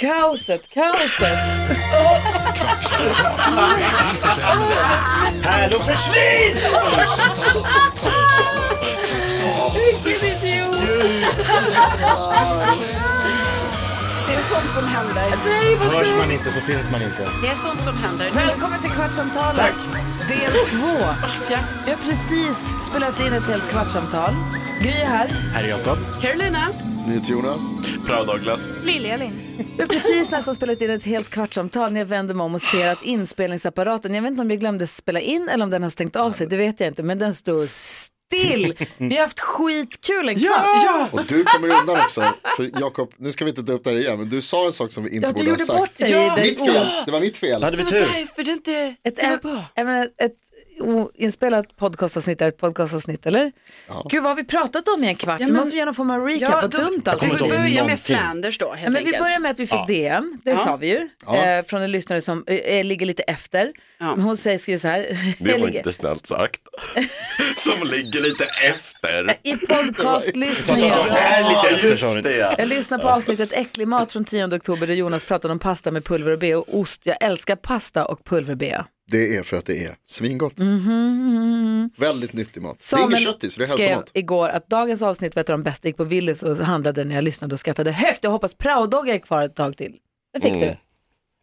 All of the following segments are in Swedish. Kaoset, kaoset. Pärlor försvinn! Vilken idiot. Det är sånt som händer. Nej, vad Hörs man inte så finns man inte. Det är sånt som händer. Välkommen till Kvartsamtalet. Del två. Vi har precis spelat in ett helt kvartsamtal. Gry är här. Herr Jakob. Carolina. Jonas. Prao Douglas. Vi har precis nästan spelat in ett helt kvartsamtal när jag vänder mig om och ser att inspelningsapparaten, jag vet inte om jag glömde spela in eller om den har stängt av sig, det vet jag inte, men den står still. Vi har haft skitkul en kvart. Ja, Och du kommer undan också. För Jakob, nu ska vi inte ta upp det här igen, men du sa en sak som vi inte du borde ha gjorde sagt. bort dig i det Mitt fel, det var mitt fel. Då hade vi tur. därför det inte... Ett, ett, ett oinspelat podcastavsnitt är ett podcastavsnitt, eller? Gud, vad har vi pratat om i en kvart? Ja, vi men- måste vi göra någon form av recap, vad dumt allt Vi kommer inte får ihåg börja med någonting. Flanders då, Ja, men helt vi enkelt. börjar med att vi fick DM, det sa vi ju, Ja. eh, från en lyssnare som eh, eh, ligger lite efter. Men hon säger, skriver så här, Det jag var ligger, inte snällt sagt. Som ligger lite efter. i podcastlyssningen. Är lite efter sa Just du. det. Jag lyssnar på avsnittet Äcklig mat från 10 oktober där Jonas pratade om pasta med pulver och bea och ost. Jag älskar pasta och pulverbea. Det är för att det är svingott. Väldigt nyttig mat. det är inget kött i, så det är Mm-hmm. skrev hälsomat. igår att dagens avsnitt var ett av de bästa. Gick på Willys och handlade när jag lyssnade och skrattade högt. Jag hoppas praodogga är kvar ett tag till. Det fick Mm. du.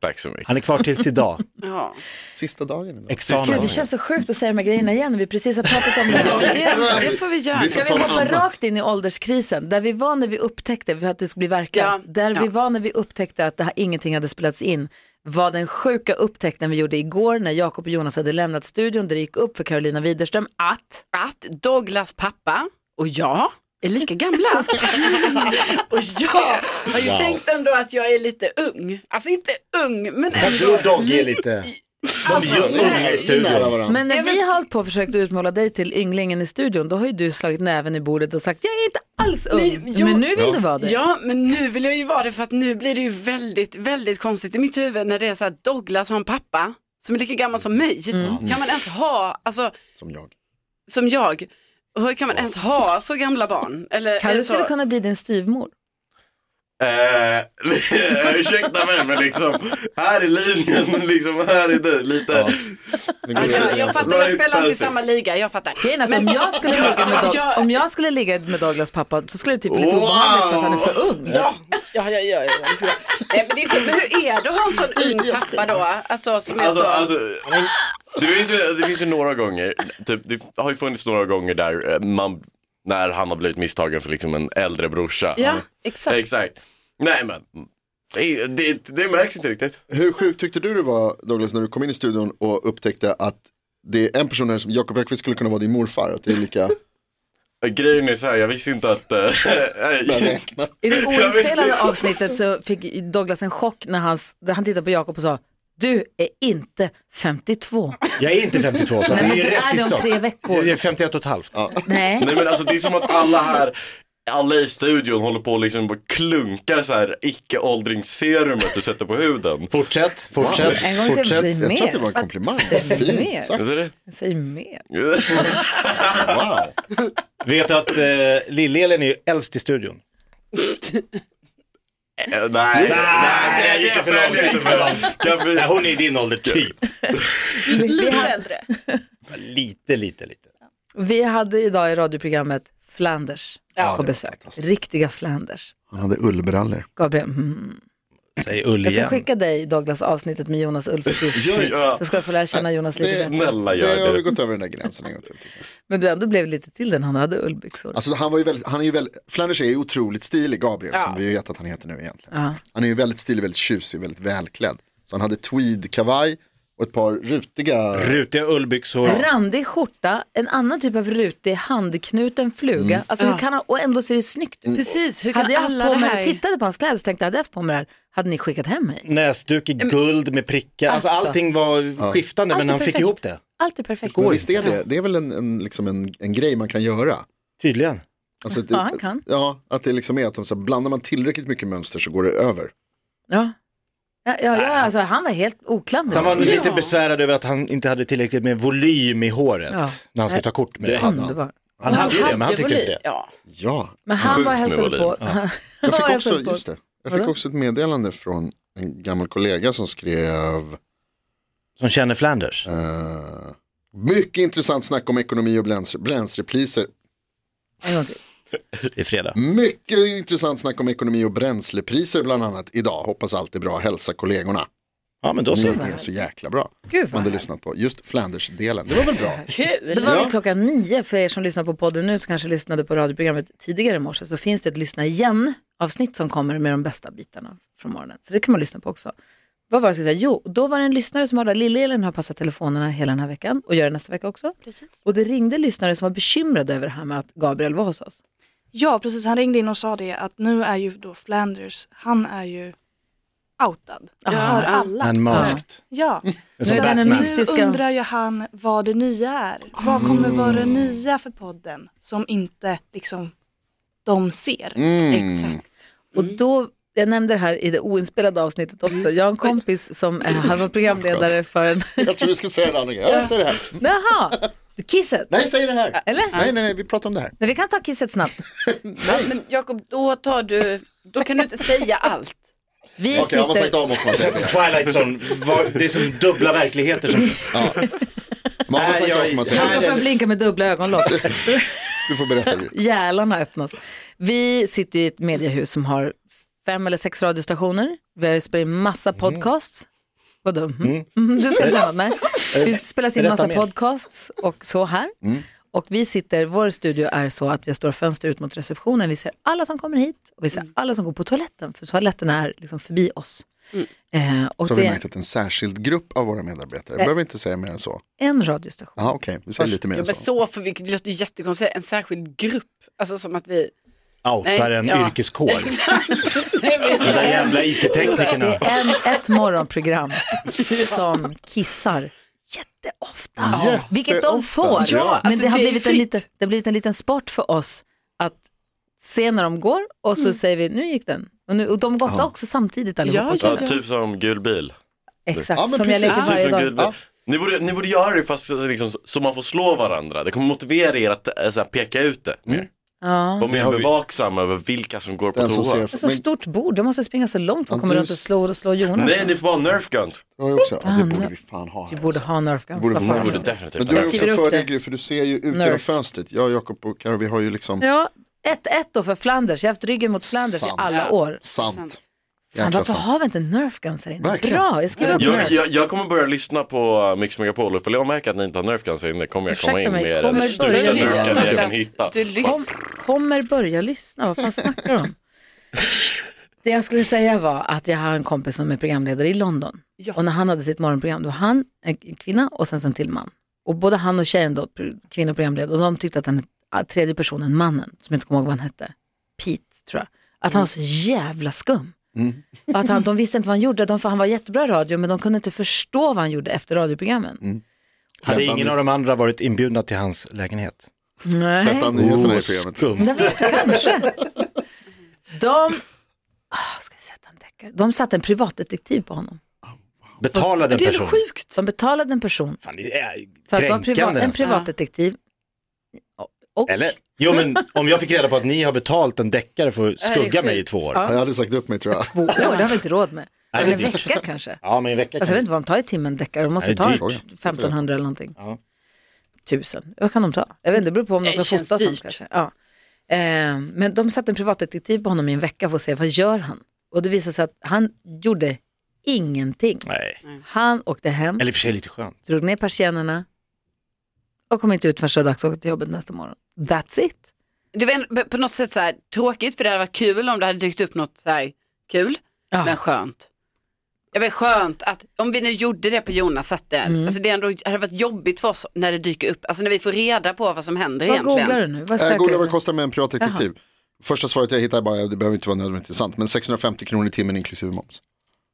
Tack så mycket. Han är kvar tills idag. Ja. Sista dagen idag. Gud, Examen. det känns så sjukt att säga de här grejerna igen när vi precis har pratat om det här. Det, det får vi göra. Vi Ska får vi ta något hoppa annat. rakt in i ålderskrisen, där vi var när vi upptäckte, för att det skulle bli verkligast, Ja, där vi ja. var när vi upptäckte att det här, ingenting hade spelats in, var den sjuka upptäckten vi gjorde igår när Jakob och Jonas hade lämnat studion, där det gick upp för Carolina Widerström att Att Douglas pappa och jag är lika gamla. och jag har ju tänkt ändå att jag är lite ung. Alltså inte ung, men Men du ändå. och Dogge är lite... De är ju unga i Alltså, Nära studion. varandra. men när vi har hållit på och försökt utmåla dig till ynglingen i studion, då har ju du slagit näven i bordet och sagt jag är inte alls ung, Nej, jo. men nu vill Ja. du vara det. Ja, men nu vill jag ju vara det för att nu blir det ju väldigt, väldigt konstigt i mitt huvud när det är så att Douglas har en pappa som är lika gammal som mig. Mm. Kan man ens ha, alltså Som jag. som jag, hur kan man ens ha så gamla barn? Eller, är Kalle det skulle så? kunna bli din styvmor. Eh, ursäkna mig men liksom, här är linjen, liksom, här är du. Lite, Det Ja, jag, går jag överens. fattar, jag spelar inte i Perfect. samma liga, jag fattar. Grejen är att om jag, skulle ligga med Doug- Ja. om jag skulle ligga med Douglas pappa så skulle det typ bli lite Wow. obehagligt för att han är för ung. Ja, ja, ja, ja, ja, ja. det skulle jag. Nej, men det är sjukt. Men hur är det att ha en sån ung pappa då? Alltså som är alltså, så... alltså, det, finns ju, det finns ju några gånger, typ, det har ju funnits några gånger där eh, man, när han har blivit misstagen för liksom en äldre brorsa. ja, exakt. Exakt. Nej men, det, det, det märks inte riktigt. Hur sjukt tyckte du det var Douglas när du kom in i studion och upptäckte att det är en person här som Jakob Ekqvist skulle kunna vara din morfar. Att det är lika Grejen är så här, jag visste inte att... eh, nej. I det Jag visste oinspelade det. avsnittet så fick Douglas en chock när han, när han tittade på Jakob och sa du är inte 52. Jag är inte 52 så Nej, det men är du ju är rätt i det om sak. tre veckor. Det är 51 och ett halvt. Nej. Nej men alltså det är som att alla här, alla i studion håller på och liksom bara klunkar så här icke-åldringsserumet du sätter på huden. Fortsätt, fortsätt, En gång till, fortsätt. säg Jag tror att det var mer. en komplimang. Säg Fint mer. sagt. Vad är Säg mer. det? Wow. Vet du att eh, Lill-Elin är ju äldst i studion? Eh, Nej, nej, gick det för långt, följer gick inte för med. långt. Kan vi- Nej, hon är i din ålder typ. Vi, hade, äldre. Lite, lite, lite. vi hade idag i radioprogrammet Flanders Ja, på det var besök. fantastiskt. Riktiga Flanders. Han hade ullbrallor. Gabriel, mm. Säg ull jag ska igen. skicka dig Douglas avsnittet med Jonas Ulfqvist. Gör jag. Så ska du få lära känna Jonas lite bättre. Snälla Det har gör vi det. gått över den där gränsen en gång till. tycker jag. Men du ändå blev lite till den, han hade ullbyxor. Alltså han var ju väldigt, han är ju väldigt, Flanders är ju otroligt stilig, Gabriel, Ja. som vi vet att han heter nu egentligen. Ja. Han är ju väldigt stilig, väldigt tjusig, väldigt välklädd. Så han hade tweedkavaj och ett par rutiga, Rutiga ullbyxor. Randig skjorta, en annan typ av rutig handknuten fluga. Alltså, hur kan han, och ändå ser det snyggt ut. Precis, hur kan Hade jag haft alla på det mig, här... tittade på hans kläder och tänkte, hade jag haft på mig det här, hade ni skickat hem mig? Näsduk i guld med prickar. Alltså, Mm. Alltså. allting var skiftande Allt men är han fick perfekt. ihop det. Allt är perfekt. men visst är det, det är väl en, en, liksom en, en grej man kan göra. Tydligen. Alltså, det, Ja, han kan. Ja, att det liksom är att de, så här, blandar man tillräckligt mycket mönster så går det över. Ja. Ja, ja, ja, alltså, han var helt oklanderlig. Sen var han Ja. lite besvärad över att han inte hade tillräckligt med volym i håret Ja. när han skulle ta kort med Det det. Mm. hade han. Underbar. Han hade ju det men han tyckte inte Hastigvolym, det. Ja. Ja, Men han Sjukt var med hälsade volym. på. jag Han var fick hälsade också, på. just det, Jag fick Vadå? också ett meddelande från en gammal kollega som skrev Som känner Flanders. eh, mycket intressant snack om ekonomi och bräns- bränslepriser. En gång till. Det är fredag. Mycket intressant snack om ekonomi och bränslepriser bland annat idag. Hoppas allt är bra. Hälsa kollegorna. Ja, men då Ni Mm. så. är så jäkla bra. Gud Man vad hade lyssnat på just Flanders-delen. Det var väl bra. Det Kul! var väl Ja. klockan nio för er som lyssnar på podden nu som kanske lyssnade på radioprogrammet tidigare i morse så finns det ett lyssna igen avsnitt som kommer med de bästa bitarna från morgonen. Så det kan man lyssna på också. Vad var det jag skulle säga? Jo, då var det en lyssnare som hörde att Lill-Elin har passat telefonerna hela den här veckan och gör det nästa vecka också. Precis. Och det ringde lyssnare som var bekymrade över det här med att Gabriel var hos oss. Ja, precis. Han ringde in och sa det att nu är ju då Flanders, han är ju outad. Ja. För alla. Unmasked. Ja. Ja. Så Som den Så är Batman. mystisk. nu mystiska- undrar ju han vad det nya är. Vad kommer vara det nya för podden som inte liksom de ser? Exakt. Mm. Och då, jag nämnde det här i det oinspelade avsnittet också. Jag har en kompis som eh, han var programledare för en... Jag tror du skulle säga det andra grejen. Ja, säg det här. Jaha, kisset. Nej, säg det här. Eller? Nej, nej, nej, vi pratar om det här. Men vi kan ta kisset snabbt. Men Jakob, då tar du, då kan du inte säga allt. Vi Okej, har man sagt sitter... A måste man säga det. Twilight Zone, var, det är som dubbla verkligheter som... Man har man sagt A får man säga det. Jakob blinkar med dubbla ögonlock. Du får berätta. Gry. Gälarna öppnas. Vi sitter i ett mediehus som har fem eller sex radiostationer. Vi spelar in Mm. massa podcasts. Vadå? Mm. Mm, Du ska inte säga något? Nej. Vi spelar in Berätta massa mer. podcasts och så här. Mm. Och vi sitter, vår studio är så att vi har stora fönster ut mot receptionen. Vi ser alla som kommer hit och vi ser alla som går på toaletten. För toaletten är liksom förbi oss. Eh, och Mm. Så har det vi är märkt att en särskild grupp av våra medarbetare, behöver inte säga mer än så. en radiostation. Jaha, okej, vi säger lite mer Ja, än men så. så för vi, det låter ju jättekonstigt, en särskild grupp. Alltså som att vi... Outar en Nej, ja. yrkeskår. Nej, men- De där jävla IT-teknikerna. Det är en, ett morgonprogram som kissar jätteofta. Jätteofta. Vilket de får. Ja, men alltså det, har det är ju blivit en fritt. liten, det har blivit en liten sport för oss att se när de går och så säger vi nu gick den. Och, nu, och de går ofta också samtidigt allihopa. Ja, och Ja, kissar. ja. typ som gul bil. Exakt, Ja, men som jag precis. leker Typ varje som dag. gul bil. Ni borde, ni borde göra det fast liksom, så man får slå varandra. Det kommer motivera er att eh, så här, peka ut det. Mm. mer. Ja. Var mer bevaksamma över vilka som går på Den som toa. Alltså, ser, Och Så men, stort bord, de måste springa så långt för att Ja, komma du runt och slå, och slå Jonas. Nej, ni får bara nerf guns. jag har ju också, ja, det borde vi fan ha Vi här. borde ha Nerf Guns. Borde vad vi Ni fan. ha borde det. Men definitivt du har ha ju det. också skriver en upp fördel det. Gry, för du ser ju ut genom Nerf. fönstret. Jag, Jakob och Karo, vi har ju liksom, Ja, 1-1 då för Flanders. Jag har haft ryggen mot Flanders Sant. i alla år. sant. Fan, Jäkla varför sant. har vi inte Nerf Guns här inne? Verkligen. Bra, jag skriver upp Nerf. Jag, jag, jag kommer börja lyssna på uh, Mix Megapol och ifall jag märker att ni inte har nerf guns inne kommer jag komma Ursäkta in mig, med kommer den börja största lyssna. nerf gun jag kan Douglas, hitta. Du lyssnar. kommer börja lyssna. Vad fan snackar du om? Det jag skulle säga var att jag har en kompis som är programledare i London. Och när han hade sitt morgonprogram, då var han en kvinna och sen så en till man. Och både han och tjejen då, pr- kvinna och programledare, de tyckte att den ah, tredje personen, mannen, som jag inte kommer ihåg vad han hette, Pete tror jag, att han var så jävla skum. Mm. Och Att han, de visste inte vad han gjorde, de, för han var jättebra i radio men de kunde inte förstå vad han gjorde efter radioprogrammen. Mm. Hade ingen av de andra varit inbjudna till hans lägenhet? Nej. Bästa nyheterna i Oh, programmet. skumt. Jag vet, kanske. De, ah, ska vi sätta en deckare? de satte en privatdetektiv på honom. Betalade en Det är person. sjukt. De betalade en person Fan, det är för att vara priva- kränkande en nästan. privatdetektiv. Och, Eller? Jo, men om jag fick reda på att ni har betalt en deckare för att skugga mig i två år. Ja. Ja, Jag hade sagt upp mig tror jag. Två år, det har vi inte råd med. Nej, det Eller är en dyrt. vecka kanske. Ja, men en vecka Alltså, jag vet kan inte vad de tar i timmen deckare, de måste Nej, det ta är 1500 eller någonting. Ja. Tusen, vad kan de ta? Jag vet inte, det beror på om de Nej, ska det känns fota sånt dyrt. kanske. Ja. Eh, men de satte en privatdetektiv på honom i en vecka för att se vad gör han? Och det visade sig att han gjorde ingenting. Nej. Mm. Han åkte hem, Eller i och för sig lite skönt. drog ner persiennerna och kom inte ut förrän det var dags att åka till jobbet nästa morgon. That's it. Det var en- på något sätt så här, tråkigt för det hade varit kul om det hade dykt upp något så här, kul. Ja. Men skönt. Ja men skönt att om vi nu gjorde det på Jonas satt där. Mm. Alltså det ändå hade varit jobbigt för oss när det dyker upp. Alltså när vi får reda på vad som händer Vad egentligen. googlar du nu? Vad Jag söker googlar Eh, vad du? det kostar med en privatdetektiv. Första svaret jag hittar är bara, det behöver inte vara nödvändigtvis sant, men 650 kronor i timmen inklusive moms.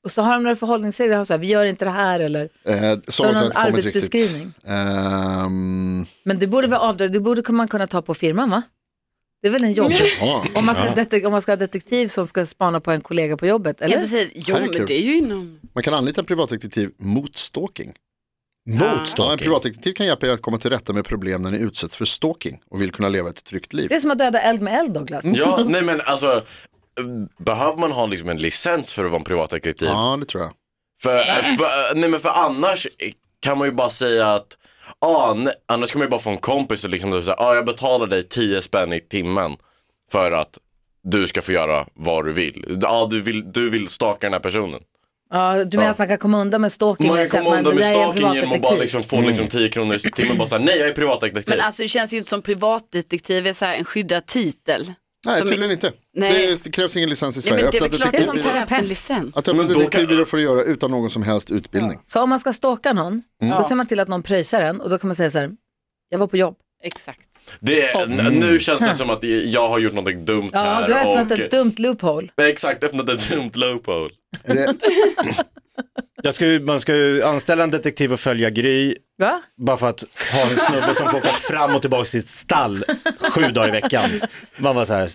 Och så har de några förhållningsregler, de har så här, vi gör inte det här eller Eh, så så har långt de har jag någon inte kommit riktigt. arbetsbeskrivning. Ehm, Men det borde vara avdrag, det borde man kunna ta på firman va? Det är väl en jobb? ja. Om man, ska detek- om man ska ha detektiv som ska spana på en kollega på jobbet, eller? Ja precis, jo Här är kul. men det är ju inom. Man kan anlita en privatdetektiv mot stalking. Mot Ja, en stalking. privatdetektiv kan hjälpa er att komma till rätta med problem när ni utsätts för stalking och vill kunna leva ett tryggt liv. Mm. Det är som att döda eld med eld Douglas. Ja, nej men alltså behöver man ha liksom en licens för att vara en privatdetektiv? Ja, det tror jag. För, eh, för, nej men för annars kan man ju bara säga att, ah, nej, annars kan man ju bara få en kompis och liksom säga, ah, jag betalar dig 10 spänn i timmen för att du ska få göra vad du vill. Ah, du, vill du vill staka den här personen. Ja, du menar att man kan komma undan med stalking? Man och kan säga komma att undan med "Jag är en staking genom att bara privatdetektiv." liksom få liksom Mm. 10 kronor i timmen och bara säga, nej jag är privatdetektiv. Men alltså det känns ju inte som privatdetektiv är så här en skyddad titel. Nej, Som- tydligen inte. Nej. Det, är- det krävs ingen licens i Nej, Sverige. men det är väl Öppna klart det som detektivbyrå- krävs en licens. att öppna Men då kan- detektivbyrå får du göra utan någon som helst utbildning. Så om man ska stalka Mm. någon, då ser man till att någon pröjsar en och då kan man säga så här, jag var på jobb. Exakt. Det, n- Nu känns det som att jag har gjort någonting dumt Mm. Ja, här. du har öppnat och, ett dumt loophole. Exakt, öppnat ett dumt loophole. Är det, Jag ska, ju- man ska ju anställa en detektiv och följa Gry, Va? bara för att ha en snubbe som får åka fram och tillbaka till sitt stall sju dagar i veckan. Man bara så här,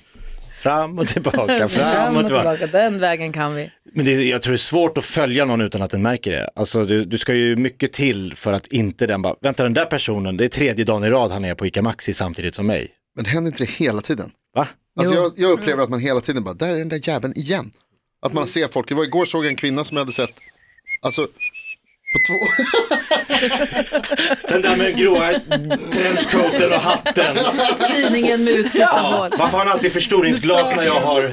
fram och tillbaka, Fram och tillbaka. tillbaka, den vägen kan vi. Men det, jag tror det är svårt att följa någon utan att den märker det. Alltså du, du ska ju mycket till för att inte den bara, vänta den där personen, det är tredje dagen i rad han är på ICA Maxi samtidigt som mig. men händer inte det hela tiden? Va? Alltså jag, jag upplever att man hela tiden bara, där är den där jäveln igen. Att man ser folk, det var igår såg jag en kvinna som jag hade sett, alltså på två, Den där med gråa trenchcoaten och hatten. Tidningen med utklippta hål. Varför har han alltid förstoringsglas när jag har...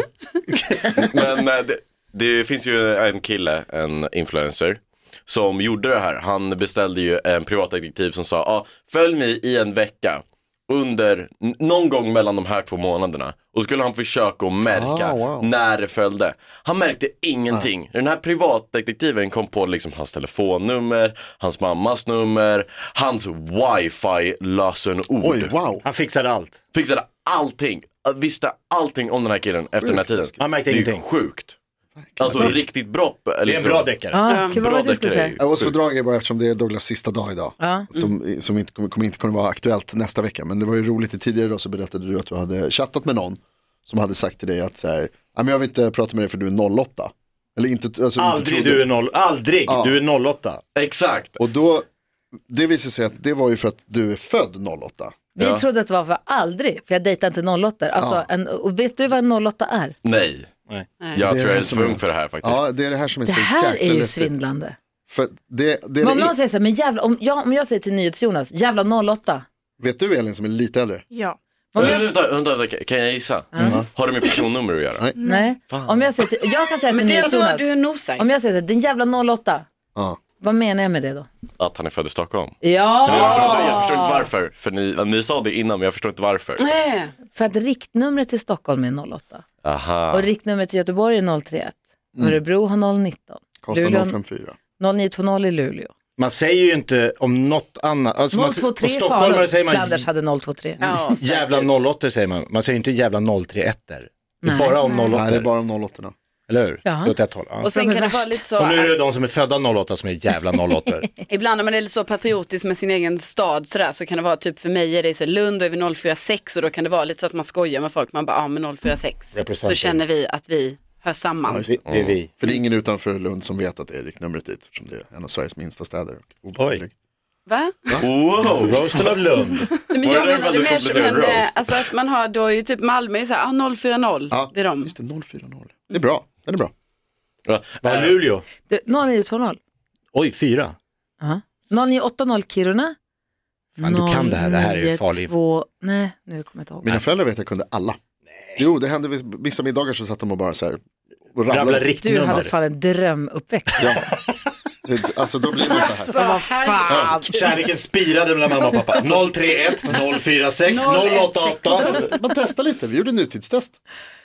Men eh, det, det finns ju en kille, en influencer, som gjorde det här. Han beställde ju en privatdetektiv som sa, ah, följ mig i en vecka under n- någon gång mellan de här två månaderna. Och skulle han försöka att märka Ah, wow. Ah. när det följde. Han märkte ingenting. Den här privatdetektiven kom på liksom hans telefonnummer, hans mammas nummer, hans wifi-lösenord oj, wow. Han fixade allt. fixade allting, visste allting om den här killen efter den här tiden. Han märkte det är ingenting. sjukt. Alltså riktigt liksom. bra. Det är en bra deckare. Ja, kul, Ah, vad var det du skulle säga? Jag måste fördra er bara eftersom det är Douglas sista dag idag. Som, som inte, kommer, kommer inte kunna vara aktuellt nästa vecka. Men det var ju roligt, i tidigare idag så berättade du att du hade chattat med någon som hade sagt till dig att så här, "Nej, men jag vill inte prata med dig för du är 08. Eller inte, alltså, inte Aldrig trodde- du är noll, aldrig du är 08. Exakt. Och då, det visade sig att det var ju för att du är född 08. Vi trodde att det var för aldrig, för jag dejtar inte 08 alltså, en, och vet du vad 08 är? Nej. Nej. Jag Det är tror jag är det som för är- ung för det här faktiskt. Ja, det är det här som är Det så här jäkla är ju läskigt. svindlande. För det, det, är Men om det någon säger så här, men jävla, om jag, om jag säger till NyhetsJonas, jävla 08. Vet du Elin som är lite äldre? Ja. Om Vänta, Eh. jag, vänta, vänta, vänta, kan jag gissa? Mm. Har det med personnummer att göra? Nej. nej, om jag säger till, jag kan säga till Men det är då NyhetsJonas, du är nosar. om jag säger så här, den jävla 08, Ja. vad menar jag med det då? Att han är född i Stockholm. Men Jag, Ja, förstår inte, jag förstår Ah. inte varför. För ni, ni sa det innan men jag förstår inte varför. Nej. för att riktnumret till Stockholm är 08 och Aha. riktnumret till Göteborg är 031. Mm. Örebro har 019, Luleå Kostar 054. 0920 i Luleå. Man säger ju inte om något annat. Alltså, man- 023 på i stockholmare Falun, säger man Flanders hade 023. Ja. jävla 08 säger man. Man säger inte jävla 031. Det är Nej. bara om 08. Nej, det är bara om 08. Eller hur? Jaha. Det är åt ett håll. Ja. Och sen De är kan det vara värst. lite så, Och nu är att det de som är födda 08 som är jävla 08 ibland när man är lite så patriotisk med sin egen stad sådär så kan det vara typ för mig är det så Lund och är vi 046 och då kan det vara lite så att man skojar med folk, man bara ja ah, men 046 Representer. så känner vi att vi hör samman. just det, det är vi. För det är ingen utanför Lund som vet att det är riktnumret dit. Eftersom det är en av Sveriges minsta städer. Oj. Va? Wow. Roasten av Lund. Nej, men Var jag det där menar det väldigt mer som komplicerad en, eh, roast? alltså att man har, då är ju typ Malmö är så här, ah, 040, Ja, det är de. Just det, 040. Det är bra. Den är bra. Vad har Luleå? Det- 0920. Oj, fyra. Aha. 0980 Kiruna. Fan, du kan det här. Det här är ju farlig. 092 Nej, nu kommer jag inte ihåg. Mina föräldrar vet att jag kunde alla. Jo, det hände vis- vissa middagar så satt de och bara så här. Och Rabbla rabblade. Du hade riktnummer. fan en drömuppväxt. Ja. Det- Alltså då blir man så här. Vad fan. Kärleken spirade mellan mamma och pappa. 031, 046, 088. Man- Man testar lite, vi gjorde nutidstest.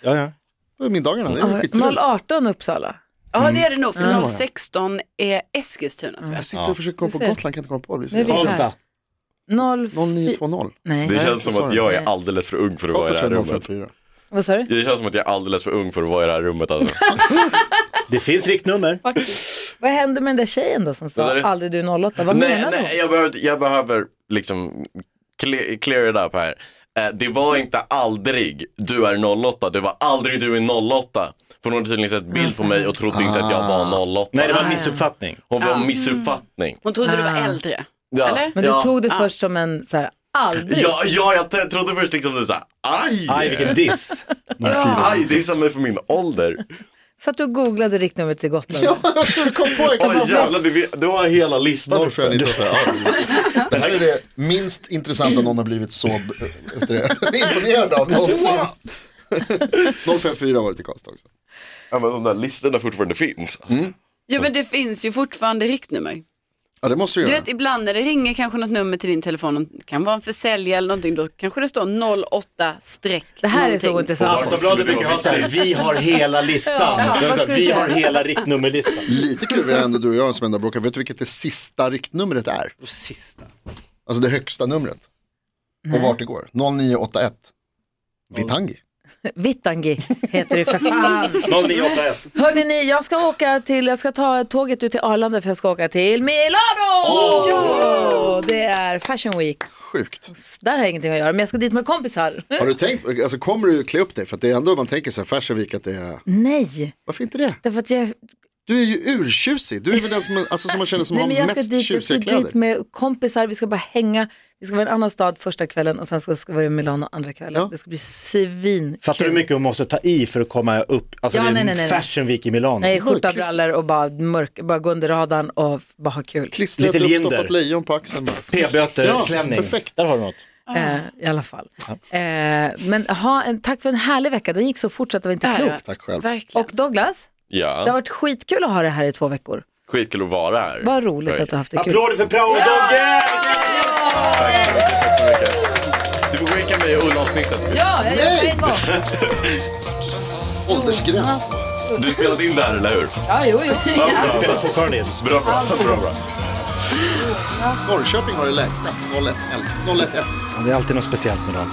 Ja, ja. på Middagarna, det är skitroligt. 018 Uppsala. Ja det är det nog, för 016 är Eskilstuna tror jag. Jag sitter och försöker komma på Du ser. Gotland, kan inte komma på det. blir så Nu är vi jävla- här. Karlstad. 04 0920. Det Nej, känns som att jag är Nej. alldeles för ung för att vara i Kostar det här tror jag rummet. 054. vad sa du? Det känns som att jag är alldeles för ung för att vara i det här rummet alltså. Det finns riktnummer. Vad hände med den där tjejen då som Vad sa sa du? aldrig du är 08? Vad nej, menar du? nej, jag behöver, jag behöver liksom cle- clear it up här. Eh, det var inte aldrig du är 08, det var aldrig du är 08. För hon hade tydligen sett bild på mig och trodde inte att jag var Ah. 08. Nej, det var en missuppfattning. Hon var en missuppfattning. Hon trodde du var äldre. Ja, Eller? Ah. Mm. Men du ja. Ah. tog det först som en så här, Aldrig. Ja, ja jag t- trodde först liksom du sa aj. Aj, vilken diss. Aj, det är samma för min ålder. Satt du och googlade riktnumret till Gotland? jag tror du kom på det. Oj jävlar, det vi- du har hela listan. Varför är ni trötta? Ja, det är- Det här är det minst intressanta någon har blivit så b- efter det, imponerad av någonsin. 054 har varit i Karlstad också. Ja, men de där listorna fortfarande finns. Mm. Jo men det finns ju fortfarande riktnummer. Ja det måste du Du göra. vet ibland när det ringer kanske något nummer till din telefon, det kan vara en försäljare eller någonting, då kanske det står 08 streck Det här är så någonting. intressant. Aftonbladet brukar ha så här, vi har hela listan. Ja, Det var vad så här, ska vi vi har säga? hela riktnummerlistan. Lite kul är ändå du och jag som enda bråkar. Vet du vilket det sista riktnumret är? Sista. Alltså det högsta numret. Och vart det går. 0981. Vitangi. Vittangi heter det för fan. 0981. Hörrni, ni, jag ska åka till, jag ska ta tåget ut till Arlanda för jag ska åka till Milano! Oh! Ja! Det är Fashion Week. Sjukt. Där har jag ingenting att göra, men jag ska dit med kompisar. Har du tänkt, alltså kommer du klä upp dig? För att det är ändå man tänker så här Fashion Week att det är, Nej, varför inte det? därför att jag, Du är ju urtjusig. Du är väl den som, alltså, som man känner som nej, har men jag ska mest dit, jag ska tjusiga kläder. dit med kompisar, vi ska bara hänga. Vi ska vara i en annan stad första kvällen och sen ska, ska vi vara i Milano andra kvällen. Ja. Det ska bli svin. Fattar du hur mycket hon måste ta i för att komma upp? Alltså Ja, det är nej, en nej, nej. Fashion Week i Milano. Nej, skjorta, Christer. brallor och bara, mörk, bara gå under radarn och f- bara ha kul. Klistrat Lite uppstoppat Linder. lejon på axeln bara. P-böter, Ja, klänning. perfekt. Där har du något. Eh, I alla fall. Eh, men ha en, tack för en härlig vecka, den gick så fort så att det var inte klokt. Tack själv. Verkligen. Och Douglas, det har Ja, varit skitkul att ha det här i två veckor. skitkul att vara här. Vad roligt att du har haft det kul. Applåder för prao, Dogge! Tack så mycket, tack så mycket. Du får skicka mig Ulla-avsnittet. Ja, jag gör det på en gång. Åldersgräns. Du spelade in det här, eller hur? Ja, jo, jo. Ja, bra, Det bra, spelas fortfarande in. bra, bra, bra, bra. Norrköping har det lägsta. 011. 011. Det är alltid något speciellt med dem.